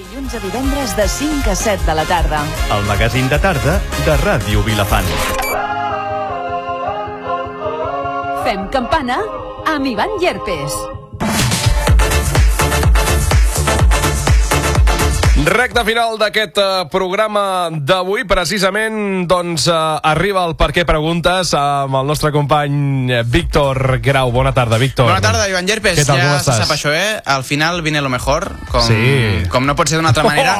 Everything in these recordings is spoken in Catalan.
dilluns a divendres de 5 a 7 de la tarda. El magazín de tarda de Ràdio Vilafant. Fem campana amb Ivan Llerpes. Recte final d'aquest eh, programa d'avui, precisament doncs eh, arriba el Per què preguntes amb el nostre company eh, Víctor Grau. Bona tarda, Víctor. Bona tarda, Ivan Llerpes. Què tal, ja com se estàs? sap això, eh? Al final viene lo mejor, com, Sí. Oh! com no pot ser d'una altra manera.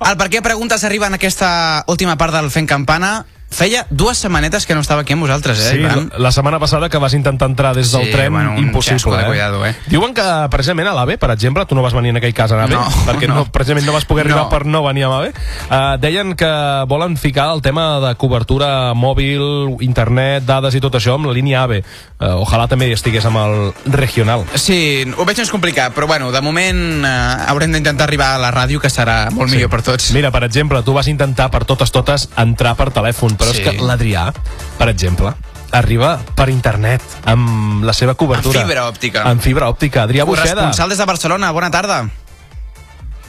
El per què preguntes arriba en aquesta última part del Fent Campana. Feia dues setmanetes que no estava aquí amb vosaltres, eh, Sí, la, Ivan? la setmana passada que vas intentar entrar des del Sí, tren, bueno, un impossible. xasco de eh? cuidado, eh? Diuen que precisament a l'AVE, per exemple, tu no vas venir en aquell cas a l'AVE, No, perquè no. no, precisament no vas poder arribar No. per no venir a l'AVE, uh, deien que volen ficar el tema de cobertura mòbil, internet, dades i tot això amb la línia AVE. Uh, ojalà també hi estigués amb el regional. Sí, ho veig més complicat, però bueno, de moment eh, haurem d'intentar arribar a la ràdio, que serà molt millor per tots. Mira, per exemple, tu vas intentar per totes totes entrar per telèfon, però Sí. és que l'Adrià, per exemple, arriba per internet amb la seva cobertura. Amb fibra òptica. Amb fibra òptica. Adrià Buixeda. Corresponsal des de Barcelona, bona tarda.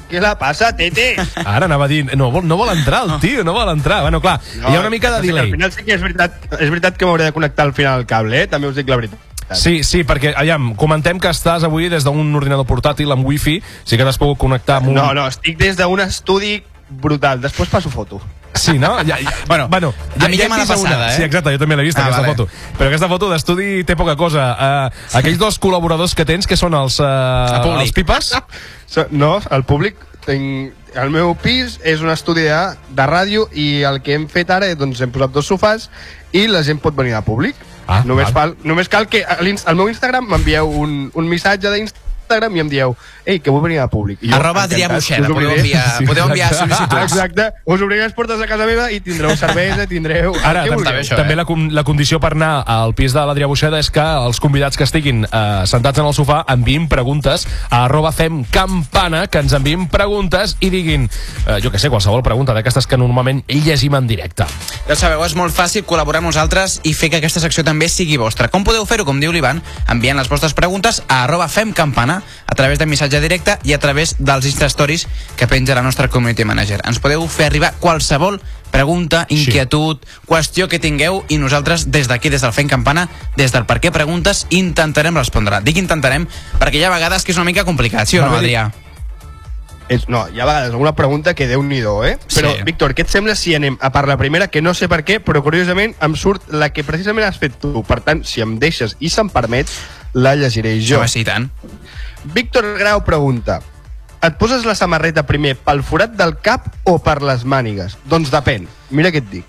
Què la passa, Tete? Ara anava a dir, no vol, no vol entrar el tio, no vol entrar. Bueno, clar, no, hi ha una mica de sí que delay. Al final sí que és veritat, és veritat que m'hauré de connectar al final el cable, eh? també us dic la veritat. Sí, sí, perquè, aviam, comentem que estàs avui des d'un ordinador portàtil amb wifi, sí que t'has pogut connectar amb un... No, no, estic des d'un estudi brutal. Després passo foto. Sí, no? Ja, ja, Bueno, a mi ja me he l'ha vist passada, eh? Sí, exacte, jo també l'he vist, Ah, ah, aquesta vale. vale. foto. Però aquesta foto d'estudi té poca cosa. Uh, aquells dos col·laboradors que tens, que són els, uh, públic. Ah, els pipes, So- No, el públic... Tinc... El meu pis és un estudi de, de ràdio i el que hem fet ara, doncs hem posat dos sofàs i la gent pot venir a públic. Ah, només, val. val. només cal que a l'ins- al meu Instagram m'envieu un, un missatge d'Instagram i em dieu ei, que vull venir a públic. I jo, Arroba Adrià Buixeda, encantat, us podeu obriré. enviar, Sí, podeu enviar exacte. sol·licituds. Ah, Exacte, us obriré les portes a casa meva i tindreu cervesa, tindreu... el Ara, que també, vulgueu. això, també eh? la, con- la condició per anar al pis de l'Adrià Buixeda és que els convidats que estiguin eh, sentats en el sofà enviïn preguntes a arroba fem campana, que ens enviïn preguntes i diguin, eh, jo que sé, qualsevol pregunta d'aquestes que normalment llegim en directe. Ja ho sabeu, és molt fàcil col·laborar amb nosaltres i fer que aquesta secció també sigui vostra. Com podeu fer-ho? Com diu l'Ivan, enviant les vostres preguntes a arroba femcampana a través de missatge directe i a través dels Insta Stories que penja la nostra community manager. Ens podeu fer arribar qualsevol pregunta, inquietud, qüestió que tingueu i nosaltres des d'aquí, des del Fem Campana, des del Per què preguntes, intentarem respondre. Dic intentarem perquè hi ha vegades que és una mica complicat, sí o no, Va bé dir- Adrià? És, no, hi ha vegades alguna pregunta que déu nhi eh? Però, Sí. sí. Víctor, què et sembla si anem a per la primera, que no sé per què, però curiosament em surt la que precisament has fet tu. Per tant, si em deixes i se'm permet, la llegiré jo. Home, sí, i tant. Víctor Grau pregunta et poses la samarreta primer pel forat del cap o per les mànigues? Doncs depèn. Mira què et dic.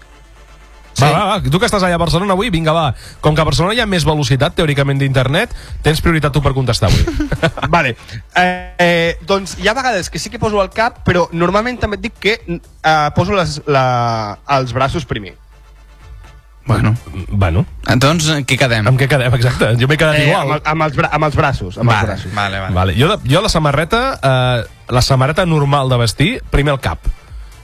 Sí. Va, va, va, tu que estàs allà a Barcelona avui, vinga, va. Com que a Barcelona hi ha més velocitat, teòricament, d'internet, tens prioritat tu per contestar avui. vale. Eh, eh, doncs hi ha vegades que sí que poso el cap, però normalment també et dic que eh, poso les, la, els braços primer. Bueno, bueno, doncs, eh, què quedem? amb què quedem, exacte? Jo m'he quedat Eh, igual. amb, el- eh, amb, els, bra amb els braços. Amb els Vale, braços. vale, vale. Vale. Jo, de- jo la samarreta, eh, la samarreta normal de vestir, primer el cap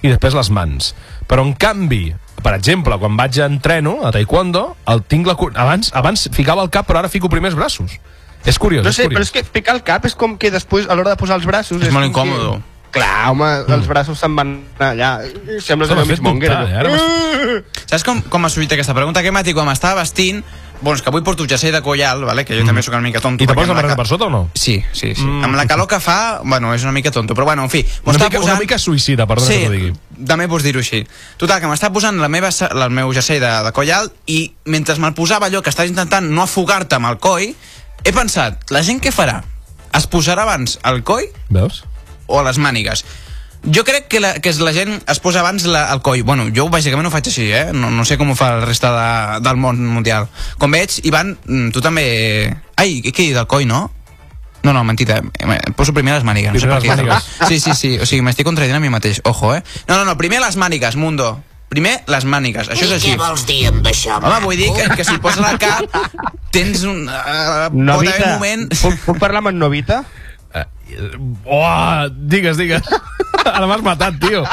i després les mans. Però en canvi, per exemple, quan vaig a entreno a taekwondo, el tinc la, cor- abans, abans ficava el cap però ara fico primers braços. És curiós, No és sé, però curiós. és que picar el cap és com que després, a l'hora de posar els braços... És molt com incòmodo. Mm. Que... Clar, home, els braços se'n van allà. Sembles Home, allò m'has mig fet monguera. dubtar, no? Ah! eh? Ara Saps com, com ha sortit aquesta pregunta? Aquest matí, quan m'estava vestint, doncs que avui porto jersei de collal, vale? que jo també sóc una mica Mm. tonto. I te perquè poses la amb samarreta ca- per sota o no? Sí, sí, sí. Mm. Amb la calor que fa, bueno, és una mica tonto, però bueno, en fi. m'ho Una estava mica, una mica suïcida, perdona que t'ho digui. Sí, també pots dir-ho així. Total, que m'estava posant la meva, sa- el meu jersei de, de coll alt i mentre me'l posava allò que estàs intentant no afogar-te amb el coll, he pensat, la gent què farà? Es posarà abans el coll Veus? o a les mànigues. Jo crec que la, que la gent es posa abans la, el coll. Bueno, jo bàsicament ho faig així, eh? No, no sé com ho fa la resta de, del món mundial. Com veig, Ivan, mm, tu també... Ai, què he dit, el coll, no? No, no, mentida. Em- em Poso primer les mànigues. No sé Primer per les què. mànigues. Sí, sí, sí. O sigui, m'estic contradient a mi mateix. Ojo, eh? No, no, no. Primer les mànigues, mundo. Primer les mànigues. Això és així. Què vols dir amb això, Home, vull dir que, que si posa la cap, tens un... Uh, pot haver un Novita, moment... puc, puc parlar amb en Novita? Eh, oh, digues, digues. Ara m'has matat, tio.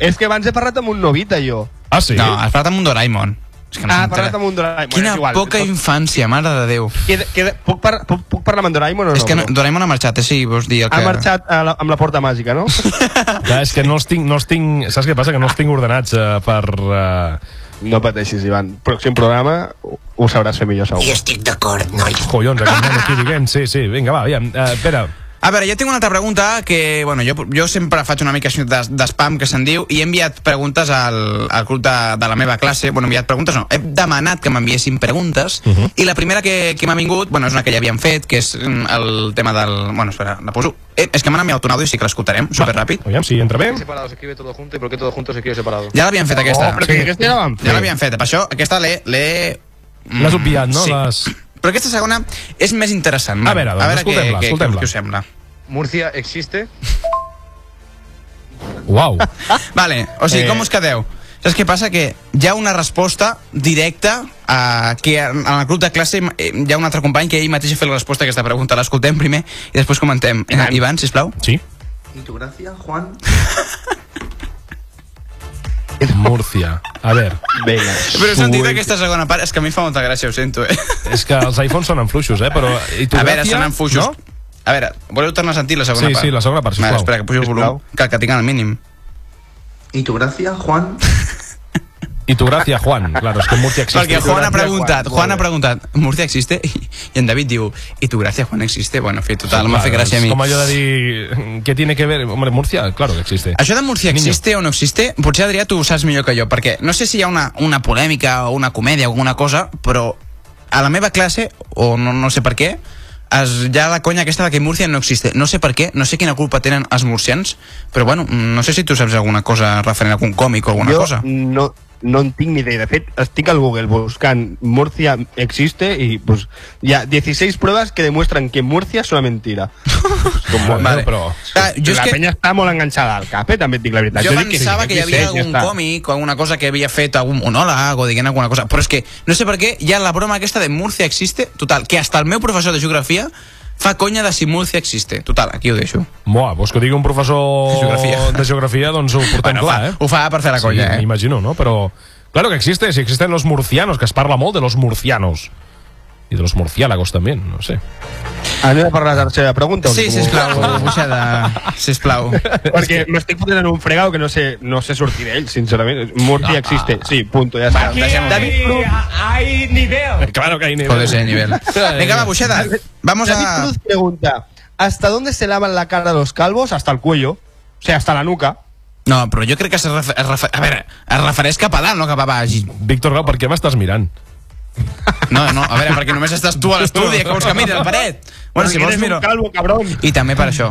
És que abans he parlat amb un Novita, jo. Ah, sí? No, has parlat amb un Doraemon. És que no Ah, ha s'entera. parlat amb un Doraemon, Quina és igual, poca tot- infància, mare de Déu. Queda, queda, puc, par puc, puc parlar amb en Doraemon o no? és que no, Doraemon ha marxat, eh, si vols dir el que... Ha marxat a la, amb la porta màgica, no? Clar, Ah, és que no els tinc, no els tinc, saps què passa? Que no els tinc ordenats uh, per... Uh, no pateixis, Ivan. Pròxim programa ho- ho sabràs fer millor, segur. I estic d'acord, nois. collons, aquest nen aquí diguem, sí, sí, vinga, va, aviam, uh, espera, A veure, jo tinc una altra pregunta que, bueno, jo, jo sempre faig una mica així de, de spam, que se'n diu, i he enviat preguntes al, al club de, de la meva classe, bueno, he enviat preguntes, no, he demanat que m'enviessin preguntes, uh -huh. Mhm. i la primera que, que m'ha vingut, bueno, és una que ja havíem fet, que és mm, el tema del... Bueno, espera, la poso. Eh, és que m'han enviat un àudio, sí que l'escoltarem, superràpid. Mm. aviam si entra bé. separado se escribe todo junto y por qué todo junto se escribe separado. Ja l'havíem fet aquesta. Oh, però que aquesta ja la vam fer. Ja l'havíem fet, per això aquesta l'he... l'he- mm, L'has obviat, no? Sí. Les... Però aquesta segona és més interessant. A veure, doncs, a veure escoltem-la, què, què, escoltem-la. què us sembla. Murcia existe. Uau. Vale, o sigui, Eh. com us quedeu? Saps què passa? Que hi ha una resposta directa a que en en el club de classe eh, hi ha un altre company que ell mateix ha fet la resposta a aquesta pregunta. L'escoltem primer i després comentem. Eh, Ivan, sisplau. Sí. I tu gràcia, Juan? Múrcia. A veure, Vinga. Però he sentit Ui. aquesta segona part, és que a mi em fa molta gràcia, ho sento, eh? és que els iPhones sonen fluixos, eh? Però, i tu a veure, gràcia, se n'han fuixos. No? A veure, voleu tornar a sentir la segona Sí, part? sí, la segona part, sisplau. Vale, espera, que pujo el volum, Sisplau. que, que tinc al mínim. ¿Y tu gracia, Juan? I tu gràcia, Juan. Claro, és que Múrcia existe. Perquè Juan ha preguntat, Juan, Juan ha molt bé. preguntat, Murcia existe? I, i en David diu, i tu gràcia, Juan, existe? Bueno, en fi, total, m'ha fet gràcia a mi. Com allò de dir... Què tiene que ver... Hombre, Múrcia, claro que existe. Això de Murcia existe o no existe, potser Adrià tu ho saps millor que jo, perquè no sé si hi ha una, una polèmica o una comèdia o alguna cosa, però a la meva classe, o no, no sé per què, es, hi ha la conya aquesta de que Murcia no existe. No sé per què, no sé quina culpa tenen els murcians, però bueno, no sé si tu saps alguna cosa referent a algun còmic o alguna jo cosa. no, no en tinc ni idea. De fet, estic al Google buscant Murcia existe y pues hi ha 16 pruebas que demuestran que Murcia es una mentira. Com molt, vale. però... Clar, Ah, jo és la que- penya està molt enganxada al cap, eh? també et dic la veritat. Jo dic sí, pensava que hi havia existeix, ja algun està. còmic o alguna cosa que havia fet algun monòleg o diguent alguna cosa, però és que no sé per què hi ha la broma aquesta de Murcia existe, total, que hasta el meu professor de geografia fa conya de si Murcia existe. Total, aquí ho deixo. Moa, vols que ho digui un professor De geografia. de geografia doncs ho portem clar, fa, eh? ho fa per fer la sí, conya, eh? M'imagino, no? Però... Claro que existe, si existen los murcianos, que es parla molt de los murcianos. Y de los murciálagos también, no sé. Anem a per la tercera pregunta. o Sí, com- sisplau, buixada, sisplau. Perquè m'estic fotent en un fregado que no sé, no sé sortir d'ell, sincerament. Murcia existe, sí, punto, ja està. deixem-ho Ah, David Cruz, Claro que hay nivel. Joder, ese nivel. Venga, va, buixada, vamos David a... Cruz pregunta, ¿hasta dónde se lavan la cara los calvos? Hasta el cuello, o sea, hasta la nuca. No, però jo crec que es, refer... es, refer... a veure, es refereix cap a dalt, no cap a baix. Víctor Grau, per què m'estàs mirant? No, no, a veure, perquè només estàs tu a l'estudi, que vols que miri la paret. Bueno, si Perquè vols eres miro... un calvo, cabrón. I també per això.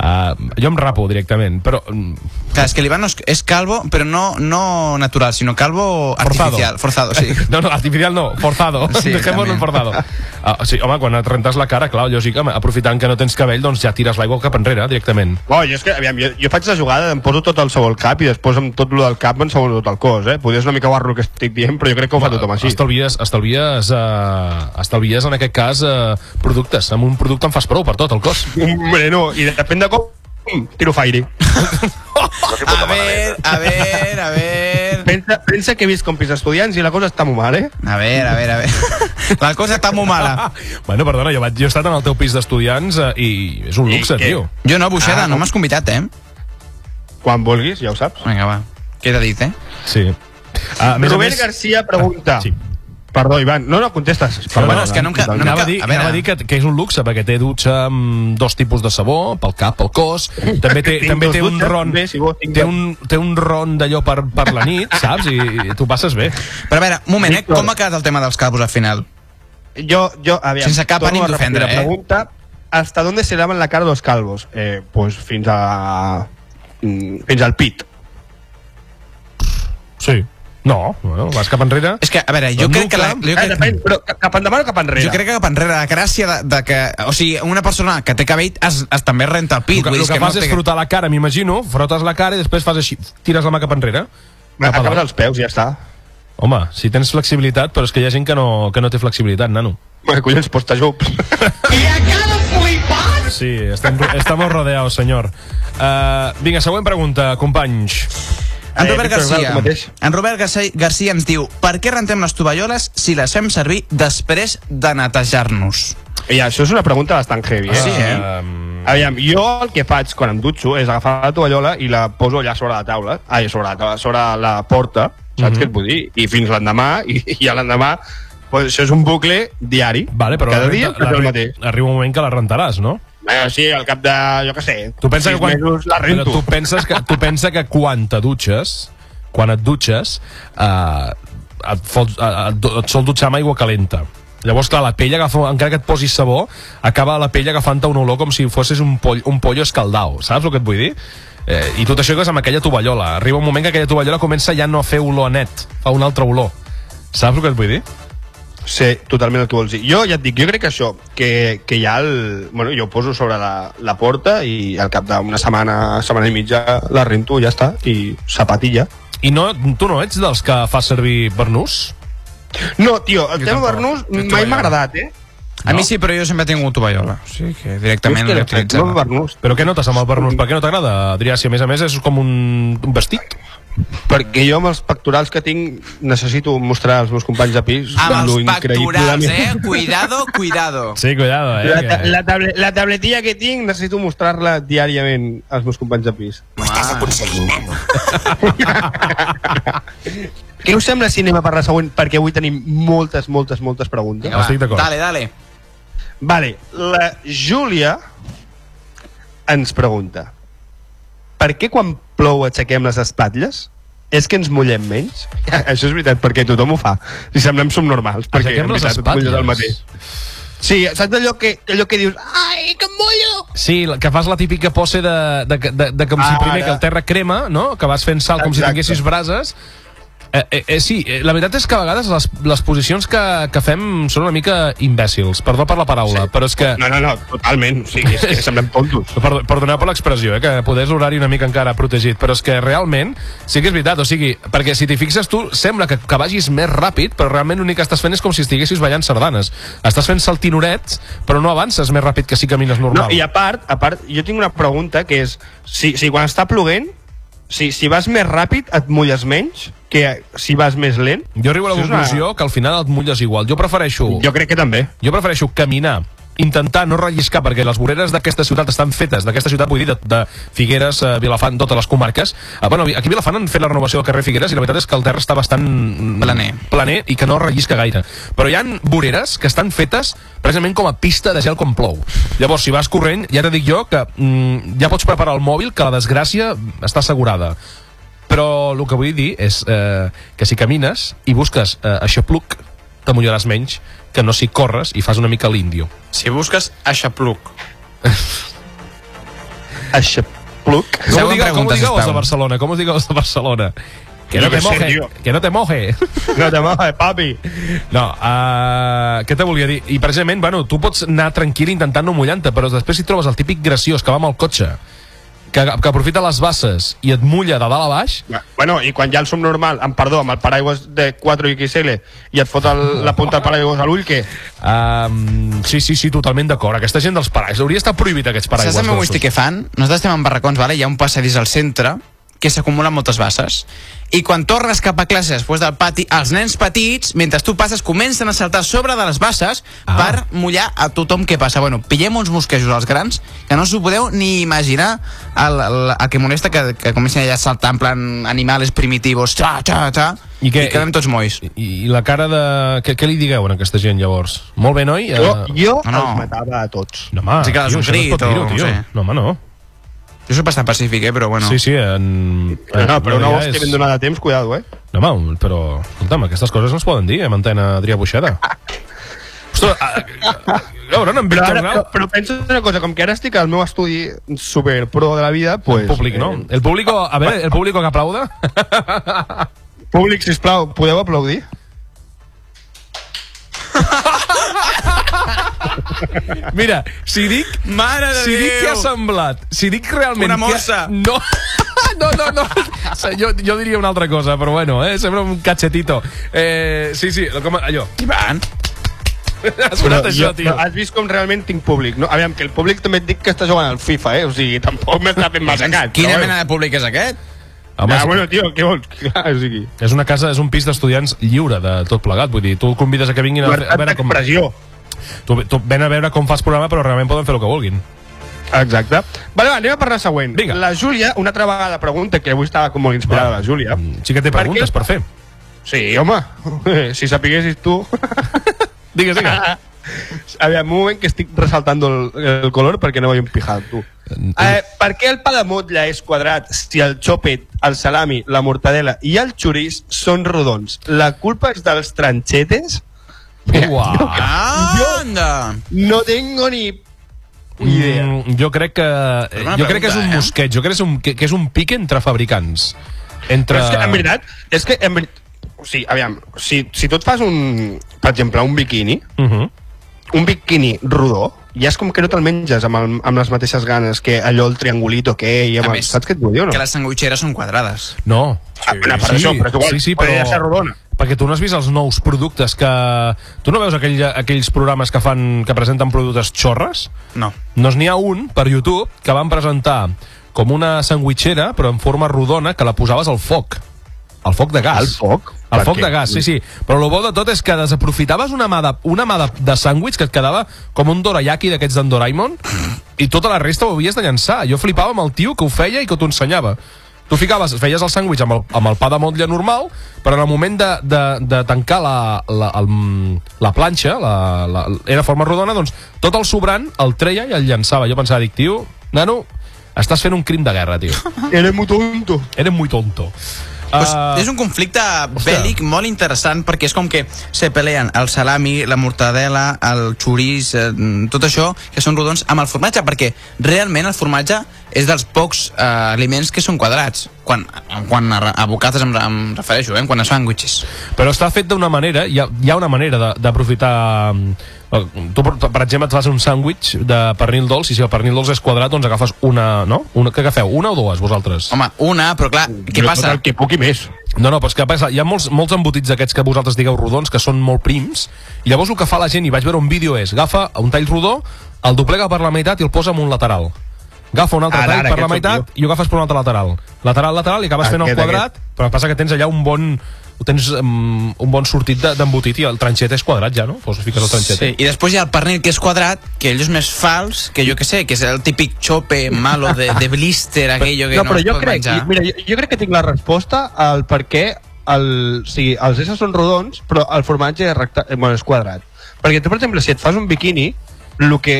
Uh, jo em rapo directament, però... mm, Clar, és que l'Ivan no és, és calvo, però no, no natural, sinó calvo Forzado. artificial. Forzado, sí. No, no, artificial no, forzado. Sí, Sí, Dejémoslo en també. forzado. Uh, sí, home, quan et rentes la cara, clar, lògic, home, aprofitant que no tens cabell, doncs ja tires l'aigua cap enrere, directament. Bueno, jo, és que, aviam, jo, jo faig la jugada, em poso tot el sabó al cap i després amb tot lo del cap em sabó tot el cos, eh? Podria ser una mica guarro el que estic dient, però jo crec que ho fa tothom així. Estalvies, estalvies, uh, estalvies en aquest cas, uh, productes. Amb un producte en fas prou per tot el cos. Hombre, no, i depèn de com, mm, tiro fire. A ¿eh? veure, a veure, a veure... Pensa, pensa que he vist compis estudiants i la cosa està molt mal, eh? A veure, a veure, a veure... La cosa està molt mala. Ah, Bueno, perdona, jo, vaig, jo he estat en el teu pis d'estudiants eh, i és un I luxe, què? tio. Jo no, Buixeda, Ah, no no. m'has convidat, eh? Quan vulguis, ja ho saps. Vinga, va. Queda dit, eh? Sí. Ah, a més a Robert més, García pregunta... Ah, sí. Perdó, Ivan. No, no, contestes. Però bueno, és que no em ca- no em Anava a ca- dir, a veure. anava a dir que, que és un luxe, perquè té dutxa amb dos tipus de sabó, pel cap, pel cos, també té, Tinc també dos té un dutxes, ron, bé, si vols, tinc té dos. un, té un ron d'allò per, per la nit, saps? I, i tu passes bé. Però a veure, un moment, eh? Víctor. Com ha quedat el tema dels calvos al final? Yo, yo, aviam, Sense cap torno ànim a repetir d'ofendre, la eh? pregunta, ¿hasta dónde se lavan la cara los calvos? Eh, pues fins a... mm, fins al pit. Sí. No, bueno, vas cap enrere... És que, a veure, jo El crec que... La, nucli- jo eh, crec, depèn, però ca- cap endavant o cap enrere? jo crec que cap enrere la gràcia de, de que... O sigui, una persona que té cabell es, es també renta el pit. El que, vull el dir, que, fas no és té- frotar la cara, m'imagino, frotes la cara i després fas així, tires la mà cap enrere. Cap a Acabes dalt. als peus, ja està. Home, si tens flexibilitat, però és que hi ha gent que no, que no té flexibilitat, nano. Bueno, collons, posta jups. Sí, Eh, estem, estamos rodeados, senyor. Uh, vinga, següent pregunta, companys. En Eh, Robert Víctor Grau, Garcia, tu mateix. en Robert Garcia, Garcia ens diu per què rentem les tovalloles si les fem servir després de netejar-nos? Ja, això és una pregunta bastant heavy, eh? Sí, eh? Um... Aviam, jo el que faig quan em dutxo és agafar la tovallola i la poso allà sobre la taula, ai, sobre la taula, sobre la porta, saps mm -hmm. Mhm. què et vull dir? I fins l'endemà, i, i a l'endemà, pues, això és un bucle diari. Vale, però Cada la dia renta- fas la el re- mateix. arriba un moment que la rentaràs, no? Bueno, sí, al cap de, jo què sé, Tu pensa sis que quan... mesos la rento. Però tu penses que, tu pensa que quan te dutxes, quan et dutxes, eh, et, fots, eh, et, du- et sol dutxar amb aigua calenta. Llavors, clar, la pell agafa, encara que et posis sabó, acaba la pell agafant-te un olor com si fossis un, poll, un pollo escaldau. Saps el que et vull dir? Eh, I tot això que és amb aquella tovallola. Arriba un moment que aquella tovallola comença ja no a fer olor a net, fa un altre olor. Saps el que et vull dir? Sí, totalment el que vols dir. Jo ja et dic, jo crec que això, que, que ja el... Bueno, jo ho poso sobre la, la porta i al cap d'una setmana, setmana i mitja la rento, ja està, i zapatilla. I no, tu no ets dels que fa servir Bernús? No, tio, el Jo tema tampoc. Bernús Jo mai tovallola. m'ha agradat, eh? A mi sí, però jo sempre he tingut tovallola. O sigui que Jo directament és que l'he no sé, no, utilitzat. Bernús, Però què notes amb el Bernús? Per què no t'agrada, Adrià? Si a més a més és com un, un vestit. perquè jo amb els pectorals que tinc necessito mostrar als meus companys de pis Amb lo Ah, els increïble pectorals, de mi- eh? Cuidado, cuidado. Sí, cuidado, eh? La, ta la, table la tabletilla que tinc necessito mostrar-la diàriament als meus companys de pis. Estàs Què us sembla si anem a parlar següent? Perquè avui tenim moltes, moltes, moltes preguntes. Estic d'acord. Dale, dale. Vale, la Júlia ens pregunta per què quan plou aixequem les espatlles? És que ens mullem menys? Això és veritat, perquè tothom ho fa. Si semblem subnormals, perquè Aixequem en les veritat et mulles al matí. espatlles. Sí, saps allò que, allò que dius Ai, que em mullo! Sí, la- que fas la típica pose de, de, de, de, de com si Ah, Ara. primer que el terra crema, no? Que vas fent sal com si Exacte. tinguessis brases. Eh, eh, eh, sí, eh, la veritat és que a vegades les, les posicions que, que fem són una mica imbècils, perdó per la paraula, sí. però és que... No, no, no, totalment. Sí, és que semblem tontos. Perdó, perdoneu per l'expressió, eh, que poder és horari una mica encara protegit, però és que realment sí que és veritat, o sigui, perquè si t'hi fixes tu sembla que, que vagis més ràpid, però realment l'únic que estàs fent és com si estiguessis ballant sardanes. Estàs fent saltinorets, però no avances més ràpid que si camines No, normal. I a part, a part, jo tinc una pregunta que és si, si quan està ploguent, si, si vas més ràpid et mulles menys que si vas més lent? Jo arribo a la Això és una- conclusió que al final et mulles igual. Jo prefereixo, jo, Jo crec que també. jo prefereixo caminar intentar no relliscar, perquè les voreres d'aquesta ciutat estan fetes, d'aquesta ciutat, vull dir, de, de Figueres, eh, Vilafant, totes les comarques. Eh, bueno, aquí a Vilafant han fet la renovació del carrer Figueres i la veritat és que el terra està bastant... mm, Planer. Planer i que no rellisca gaire. Però hi han voreres que estan fetes precisament com a pista de gel quan plou. Llavors, si vas corrent, ja te dic jo que mm, ja pots preparar el mòbil, que la desgràcia està assegurada. Però el que vull dir és eh, que si camines i busques eh, això pluc, te mullaràs menys que no si corres i fas una mica l'índio. Si busques aixapluc. Aixapluc. Com ho digueu, Següent com ho pregunta, digueu els de sisplau. Barcelona? Com ho digueu els de Barcelona? Que no Jo te què sé, moje, tio. que no te moje. No te mojes, papi. No, uh, què te volia dir? I precisament, bueno, tu pots anar tranquil intentant no mullant-te, però després si trobes el típic graciós que va amb el cotxe, que, que aprofita les basses i et mulla de dalt a baix, Bueno, i quan ja el som normal, amb perdó, amb el paraigües de 4 XL i et fot el, la punta del paraigües a l'ull, què? um, sí, sí, sí, totalment d'acord. Aquesta gent dels paraigües, hauria estat prohibit aquests paraigües. Saps també ho grossos. estic que fan? Nosaltres estem en barracons, vale? hi ha un passadís al centre que s'acumulen moltes basses. I quan tornes cap a classe després del pati, els nens petits, mentre tu passes, comencen a saltar sobre de les basses Ah. ah. per mullar a tothom que passa. Bueno, pillem uns mosquejos als grans, que no us ho podeu ni imaginar el, el, el que molesta que, que comencen allà a saltar en plan animals primitivos, xa, xa, xa, I i, què- que, i quedem tots mois. I, I la cara de... Què, què li digueu a aquesta gent, llavors? Molt bé, noi? Jo, jo no, no. els matava a tots. Eh, No, home, Sí que és això no un es pot crit o dir-ho, no tio. sé. No, home, no. Jo soc bastant pacífic, eh? però bueno. Sí, sí, en... No, no, però una Adrià voz que és- ben donada a temps, cuidado, eh? No, home, però, escolta'm, aquestes coses no es poden dir, eh, amb antena Adrià Buixeda. Ostres, a, a, a veure, no, en Però, Víctor ara, però, Grau... però penso una cosa, com que ara estic al meu estudi super pro de la vida, El pues, públic, no? El públic, a veure, el públic que aplauda... Eh, públic, sisplau, podeu aplaudir? Mira, si dic... Mare de Si dic Déu! que ha semblat, si dic realment... Una mossa. Que... No, no, no, no. Jo, jo diria una altra cosa, però bueno, eh? Sembla un cachetito. Eh, sí, sí, com allò. Ivan, Ha sonat això, tio. però ah, has vist com realment tinc públic, no? Aviam, que el públic també et dic que està jugant al FIFA, eh? O sigui, tampoc m'està fent massa gat. quina però mena de públic és aquest? Home, ah, és- bueno, tio, què vols? Clar, o sigui... És una casa, és un pis d'estudiants lliure de tot plegat, vull dir, tu el convides a que vinguin a, fer- a Llibertat veure com... d'expressió. Tu, tu ven a veure com fas programa, però realment poden fer el que vulguin. Exacte. Vale, va, anem a parlar següent. Vinga. La Júlia, una altra vegada pregunta, que avui estava com molt inspirada Va. la Júlia. Mm, Sí que té Per preguntes què? per, fer. Sí, home, si sapiguessis tu... Digues, Ah, digues. A veure, un moment que estic ressaltant el, el color perquè no veig un pijal, tu. Eh, per què el pa de motlla és quadrat si el xòpet, el salami, la mortadela i el xurís són rodons? La culpa és dels tranxetes? Uah. Ah, Jo- anda! No tengo ni... ni idea. Mm, jo crec que és una jo crec que és pregunta, un eh? mosqueig, jo crec que és un, que, que és un pic entre fabricants. Entre... Però és que, en veritat, és que, en veritat, o sigui, aviam, si, si tu et fas un, per exemple, un biquini, Uh Mhm. -huh. un biquini rodó, ja és com que no te'l menges amb, el, amb les mateixes ganes que allò el triangulito que hi ha... A Més, més, saps què et vull dir o no? Que les sandwitxeres són quadrades. No. Ah, però per això, però és igual, podria ser rodona. Perquè tu no has vist els nous productes que... Tu no veus aquell, aquells programes que fan que presenten productes xorres? No. Doncs n'hi ha un, per YouTube, que van presentar com una sandwitxera, però en forma rodona, que la posaves al foc. Al foc de gas. Al foc? Al Per foc què? de gas, sí, sí. Però el bo de tot és que desaprofitaves una mà de, una mà de, de sàndwich que et quedava com un dorayaki d'aquests d'en Doraemon i tota la resta ho havies de llançar. Jo flipava amb el tio que ho feia i que t'ho ensenyava. Tu ficaves, feies el sàndwich amb, el, amb el pa de motlla normal, però en el moment de, de, de tancar la, la, el, la planxa, la, la, era forma rodona, doncs tot el sobrant el treia i el llançava. Jo pensava, dic, tio, nano, estàs fent un crim de guerra, tio. Eres muy tonto. Eres muy tonto. Pues Ah, és un conflicte bèl·lic molt interessant perquè és com que se peleen el salami, la mortadela, el xurís, eh, tot això, que són rodons, amb el formatge, perquè realment el formatge és dels pocs eh, aliments que són quadrats, quan, quan a, a bocates em, em refereixo, eh, quan a sàndwiches. Però està fet d'una manera, hi ha, hi ha una manera de- d'aprofitar... eh, Tu, per per exemple, et fas un sàndwich de pernil dolç, i si el pernil dolç és quadrat, doncs agafes una... No? Una, què agafeu? Una o dues, vosaltres? Home, una, però clar, què passa? El que puc i més. No, no, però és que passa, hi ha molts, molts embotits aquests que vosaltres digueu rodons, que són molt prims, i llavors el que fa la gent, i vaig veure un vídeo, és agafa un tall rodó, el doblega per la meitat i el posa en un lateral. Agafa un altre Ara, tall ara, per la aquest sóc meitat i ho agafes per un altre lateral. Lateral, lateral, i acabes fent el Aquest, quadrat, aquest. però passa que tens allà un bon ho tens um, un bon sortit de- d'embotit i el tranxet és quadrat ja, no? Fos, fiques el tranxet. Sí, i després hi ha el pernil que és quadrat, que allò és més fals, que jo que sé, que és el típic xope malo de, de blister, aquello que no, No, però es jo pot crec, menjar. i, mira, jo, jo crec que tinc la resposta al per què el, o sigui, els éssers són rodons, però el formatge és, recta, eh, bueno, és quadrat. Perquè tu, per exemple, si et fas un biquini, el que,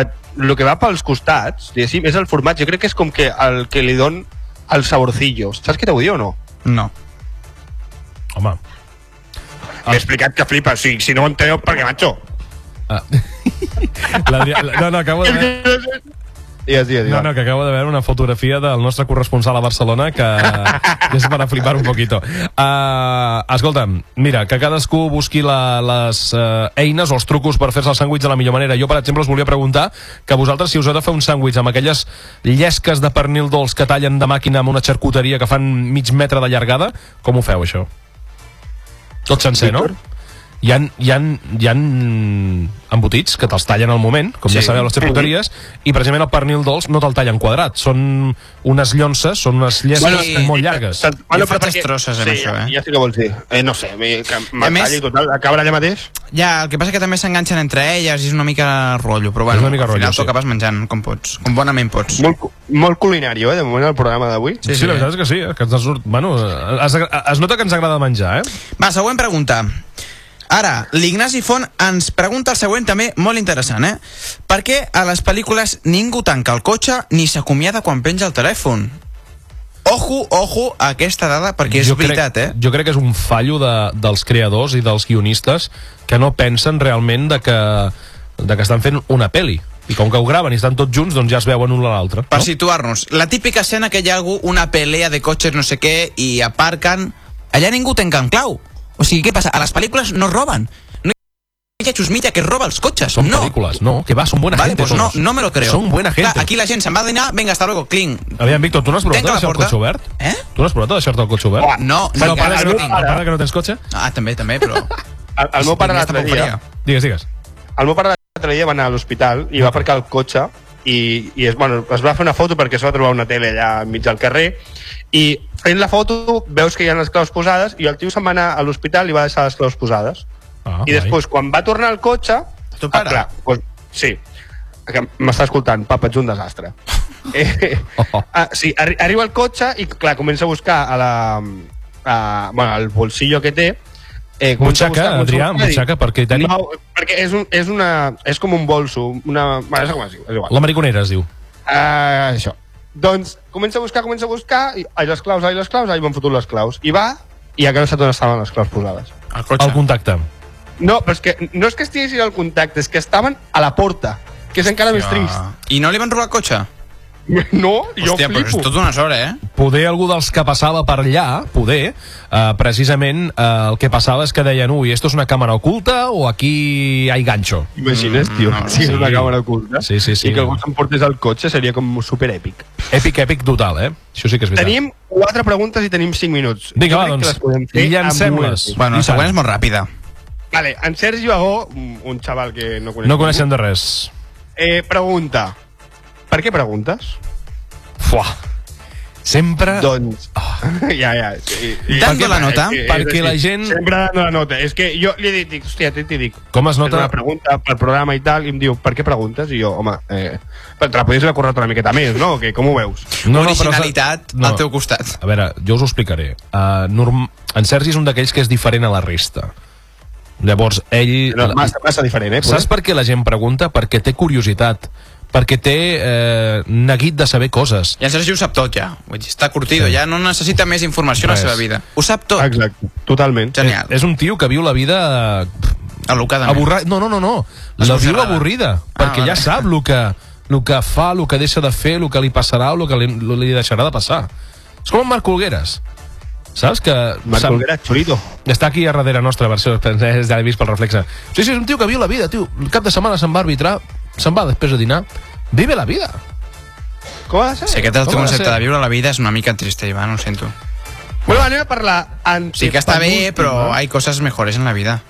et, lo que va pels costats, diguéssim, és el formatge. Jo crec que és com que el que li don el saborcillo. Saps què t'ho dir o no? No. Home, M'he Ah. explicat que flipa, o sigui, si no ho enteneu, perquè, macho... ah. L'Adrià- la, no, no, acabo de veure... Digues, digues, No, no, que acabo de veure una fotografia del nostre corresponsal a Barcelona que és per a flipar un poquito. Uh, escolta'm, mira, que cadascú busqui la, les uh, eines o els trucos per fer-se el sàndwich de la millor manera. Jo, per exemple, us volia preguntar que vosaltres, si us heu de fer un sàndwich amb aquelles llesques de pernil dolç que tallen de màquina amb una xarcuteria que fan mig metre de llargada, com ho feu, això? Tot sencer, no? Hi ha, hi, ha, hi ha embotits que te'ls tallen al moment, com sí. ja Sí. sabeu les xarcuteries, i precisament el pernil dolç no te'l tallen quadrat, són unes llonces, són unes llesques Bueno, bueno, i- molt llargues. Bueno, però perquè- sí, Ja sé què vols dir. Eh, no sé, que A més- m'entalli total, acabarà allà mateix. Ja, el que passa que també s'enganxen entre elles i és una mica rotllo, però bueno, És una mica al final rotllo, t'ho sí. acabes menjant com pots, com bonament pots. Molt, cu- molt culinari, eh, de moment, el programa d'avui. Sí, sí, sí, la veritat és que sí, eh? que ens surt... Bueno, eh, es, es nota que ens agrada menjar, eh? Va, següent pregunta. Ara, l'Ignasi Font ens pregunta el següent també molt interessant, eh? Per què a les pel·lícules ningú tanca el cotxe ni s'acomiada quan penja el telèfon? Ojo, ojo a aquesta dada, perquè és crec- veritat, eh? Jo crec que és un fallo de, dels creadors i dels guionistes que no pensen realment de que, de que estan fent una peli. I com que ho graven i estan tots junts, doncs ja es veuen un a l'altre. Per no? situar-nos, la típica escena que hi ha algú, una pelea de cotxes no sé què, i aparquen, allà ningú tanca en clau. O sigui, què passa? A les pel·lícules no roben. No hi ha xusmilla que roba els cotxes. Son no. películas, no, que va, son buena Vale, gente. pues no, todos. no me lo creo. Son buena gente. Clar, aquí la gent se'n va a dinar, venga, hasta luego, cling. Aviam, Víctor, tu no has provat de Tanca la deixar el porta. cotxe obert? Eh? Tu no has provat de deixar-te el cotxe obert? No, no, Bueno, encara para, que no, no tinc. para que no tens cotxe? Ah, també, també, però... El, el meu pare Aquesta l'altre dia... bogeria. Digues, digues. El meu pare l'altre dia va anar a l'hospital i va aparcar el cotxe i, i es, bueno, es va fer una foto perquè es va trobar una tele allà enmig del carrer i fent la foto veus que hi ha les claus posades i el tio se'n va anar a l'hospital i va deixar les claus posades Ah, i després, quan va tornar al cotxe... Tu pare? Ah, clar, doncs, sí. Que M'està escoltant, papa, ets un desastre. Eh, Oh. ah, sí, arri arriba al cotxe i, clar, comença a buscar a la... A, bueno, el bolsillo que té. Eh, comença a Butxaca, buscar- Adrià, comença a buscar i diu, butxaca, perquè tenim- No, perquè és, un, és, una, és com un bolso, una... Bueno, és com es diu, és igual. La mariconera es diu. Ah, això. Doncs comença a buscar, comença a buscar, i ai, les claus, ai, les claus, ai, m'han fotut les claus. I va, i encara no sap on estaven les claus posades. El cotxe. El contacte. No, però és que no és que estiguessin al contacte, és que estaven a la porta, que és encara més trist. Ah. I no li van robar el cotxe? No, jo Hòstia, però és flipo. tota una sort, eh? poder algú dels que passava per allà, poder, eh, precisament eh, el que passava és que deien ui, esto és una càmera oculta o aquí hay gancho. Imagines, tio, Mm, no, si és sí. una càmera oculta Sí, sí, sí. i que algú s'emportés al cotxe seria com superèpic. Èpic, èpic total, eh? Això sí que és veritat. Tenim quatre preguntes i tenim cinc minuts. Vinga, va, Jo crec que doncs, les podem fer amb llancem-les. un- Bueno, I la següent tant. és molt ràpida. Vale, en Sergi Bagó, un un xaval que no coneix. No ningú, coneixem de res. Eh, pregunta. Per què preguntes? Fuà. Sempre... Doncs... ja, ja. Sí, I- Dando la nota, és que- és perquè Ah. la així. gent- Sempre dando la nota. És que jo li he dit, dic, hòstia, t'hi dic, Com es nota... nota... una pregunta pel programa i tal, i em diu, per què preguntes? I jo, home, eh, però te la podies haver currat una miqueta més, no? Que, com ho veus? No, no, però- Originalitat no. al teu costat. A veure, jo us ho explicaré. Uh, norm... En Sergi és un d'aquells que és diferent a la resta. Llavors, ell... No, massa, massa diferent, eh? Saps Saps? per què la gent pregunta? Perquè té curiositat. Perquè té eh, neguit de saber coses. Ja en Sergi ho sap tot, ja. Vull dir, està curtido, ja no necessita més informació a la Res. seva vida. Ho sap tot. Exacte, totalment. Genial. És un tio que viu la vida eh, Alocadament. avorrida. No, no, no, no. La viu Esbojarrada. avorrida, Ah, perquè vale. ja sap el que, el que fa, el que deixa de fer, el que li passarà o el que li, lo li deixarà de passar. És com en Marc Olgueres. Saps que... Marc sap- Olguera, xurito. Està aquí a darrere nostra, versió és de vist pel reflexe. Sí, sí, és un tio que viu la vida, tio. El cap de setmana se'n va a arbitrar, se'n va després de dinar. Vive la vida. Com ha de ser? Si aquest és el teu Com ha de concepte ser? de viure la vida és una mica triste, Ivan, ho sento. Bueno, anem a parlar... Antes, Sí que està bé, però hay coses mejores en la vida.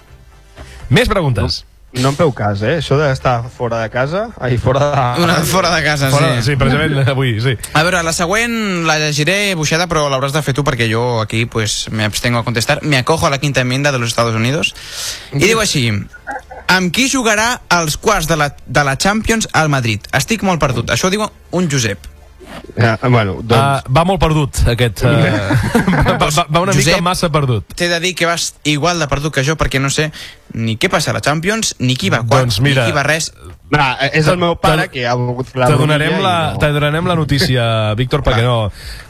Més preguntes. No em feu cas, eh? Això d'estar fora de casa, ai, fora de... Una fora de casa, Ah, Fora, sí. sí, precisament avui, sí. A veure, la següent la llegiré buixada, però l'hauràs de fer tu perquè jo aquí pues, me abstengo a contestar. Me acojo a la quinta enmienda de los Estados Unidos. I diu així, amb qui jugarà als quarts de la, de la Champions al Madrid? Estic molt perdut. Això ho diu un Josep. Ja, bueno, Uh, doncs... va molt perdut, aquest. Uh, va, va, va una mica Doncs Josep. massa perdut. T'he de dir que vas igual de perdut que jo perquè no sé ni què passa a la Champions, ni qui va quarts, Doncs mira, ni qui va res. Uh, nah, és el meu pare que ha volgut fer la Te donarem bromilla la, i te donarem la notícia, Víctor, perquè no.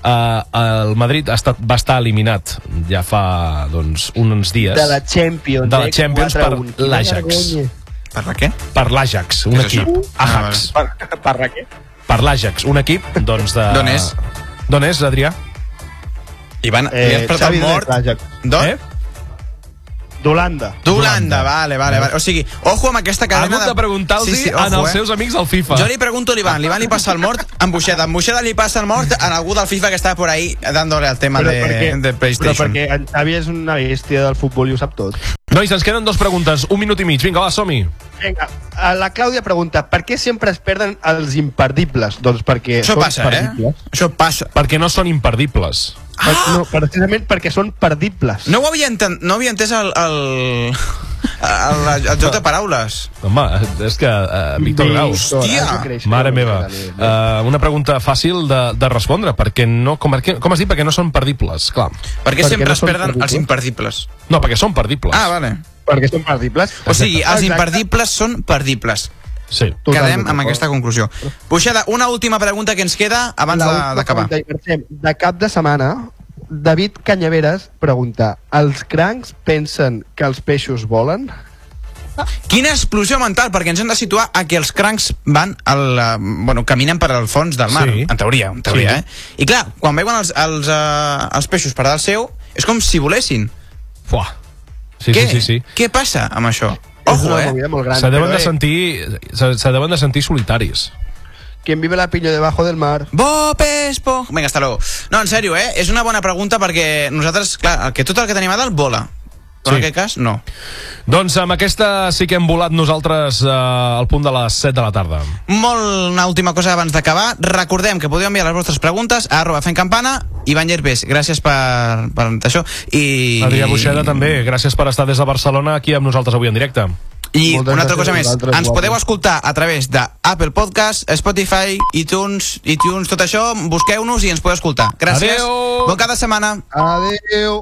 Uh, el Madrid ha estat, va estar eliminat ja fa doncs, uns dies. De la Champions. De la eh? Champions 4 a per 1. Quina l'Ajax. vergonya. Per la què? Per l'Ajax, un Què és equip. això? Ajax. Per, per la què? Per l'Ajax, un equip, doncs, de... D'on és? D'on és, Adrià? Ivan, eh, li has portat Xavi de mort l'Ajax. d'on? Eh? D'Holanda. D'Holanda, vale, vale, vale. O sigui, ojo amb aquesta Ha cadena... hagut de preguntar-los sí, sí, ojo, als eh? seus amics del FIFA. Jo li pregunto a l'Ivan, l'Ivan li passa el mort en Buixeda, en Buixeda li passa el mort en algú del FIFA que està por ahí dándole al tema de, de PlayStation. Però perquè en Xavi és una bèstia del futbol i ho sap tot. Nois, ens queden dos preguntes. Un minut i mig. Vinga, va, som-hi. Vinga, eh, la Clàudia pregunta per què sempre es perden els imperdibles? Doncs perquè Això són passa, eh? perdibles. Això passa. Perquè no són imperdibles. Per, no, precisament perquè són perdibles. No ho havia, enten no havia entès el, el, el, el, el joc de paraules. Home, és que... Uh, Víctor Grau. Hòstia! has de créixer. Mare meva, Eh, uh, una pregunta fàcil de, de respondre, perquè no, com, com has dit, perquè no són perdibles, clar. Perquè Perquè sempre no es són perden els perdibles. imperdibles. No, perquè són perdibles. Ah, vale. Perquè són perdibles. O sigui, els Exacte. imperdibles són perdibles. Sí. Totalment Quedem amb d'acord. aquesta conclusió. Buixeda, una última pregunta que ens queda abans La de- última d'acabar. pregunta, i marxem. De cap de setmana, David Canyaveres pregunta Els crancs pensen que els peixos volen? Quina explosió mental, perquè ens hem de situar a que els crancs van al, eh, bueno, caminen per al fons del mar, Sí. en teoria, en teoria Sí. eh? I clar, quan veuen els, els, eh, els peixos per dalt seu, és com si volessin. Fuà. Sí, Què? sí, sí, sí. Què passa amb això? és Ojo, una eh? movida molt gran. Se deuen, però, de eh, sentir, se, se deuen de sentir solitaris. Quien vive la piña debajo del mar. Bob Espo... Vinga, hasta luego. No, en sèrio, eh? És una bona pregunta perquè nosaltres, clar, el que tot el que tenim a dalt vola. Però Sí. en aquest cas, no. Doncs amb aquesta sí que hem volat nosaltres eh, al punt de les 7 de la tarda. Molt una última cosa abans d'acabar. Recordem que podeu enviar les vostres preguntes a arroba fent campana. Ivan Llerpes, gràcies per, per això. I, Adrià Buixeda també, gràcies per estar des de Barcelona aquí amb nosaltres avui en directe. I Moltes una altra gràcies cosa a més, vosaltres, ens guapos. podeu escoltar a través d'Apple Podcast, Spotify, iTunes, iTunes, tot això, busqueu-nos i ens podeu escoltar. Gràcies, Adeu. bon cada setmana. Adéu.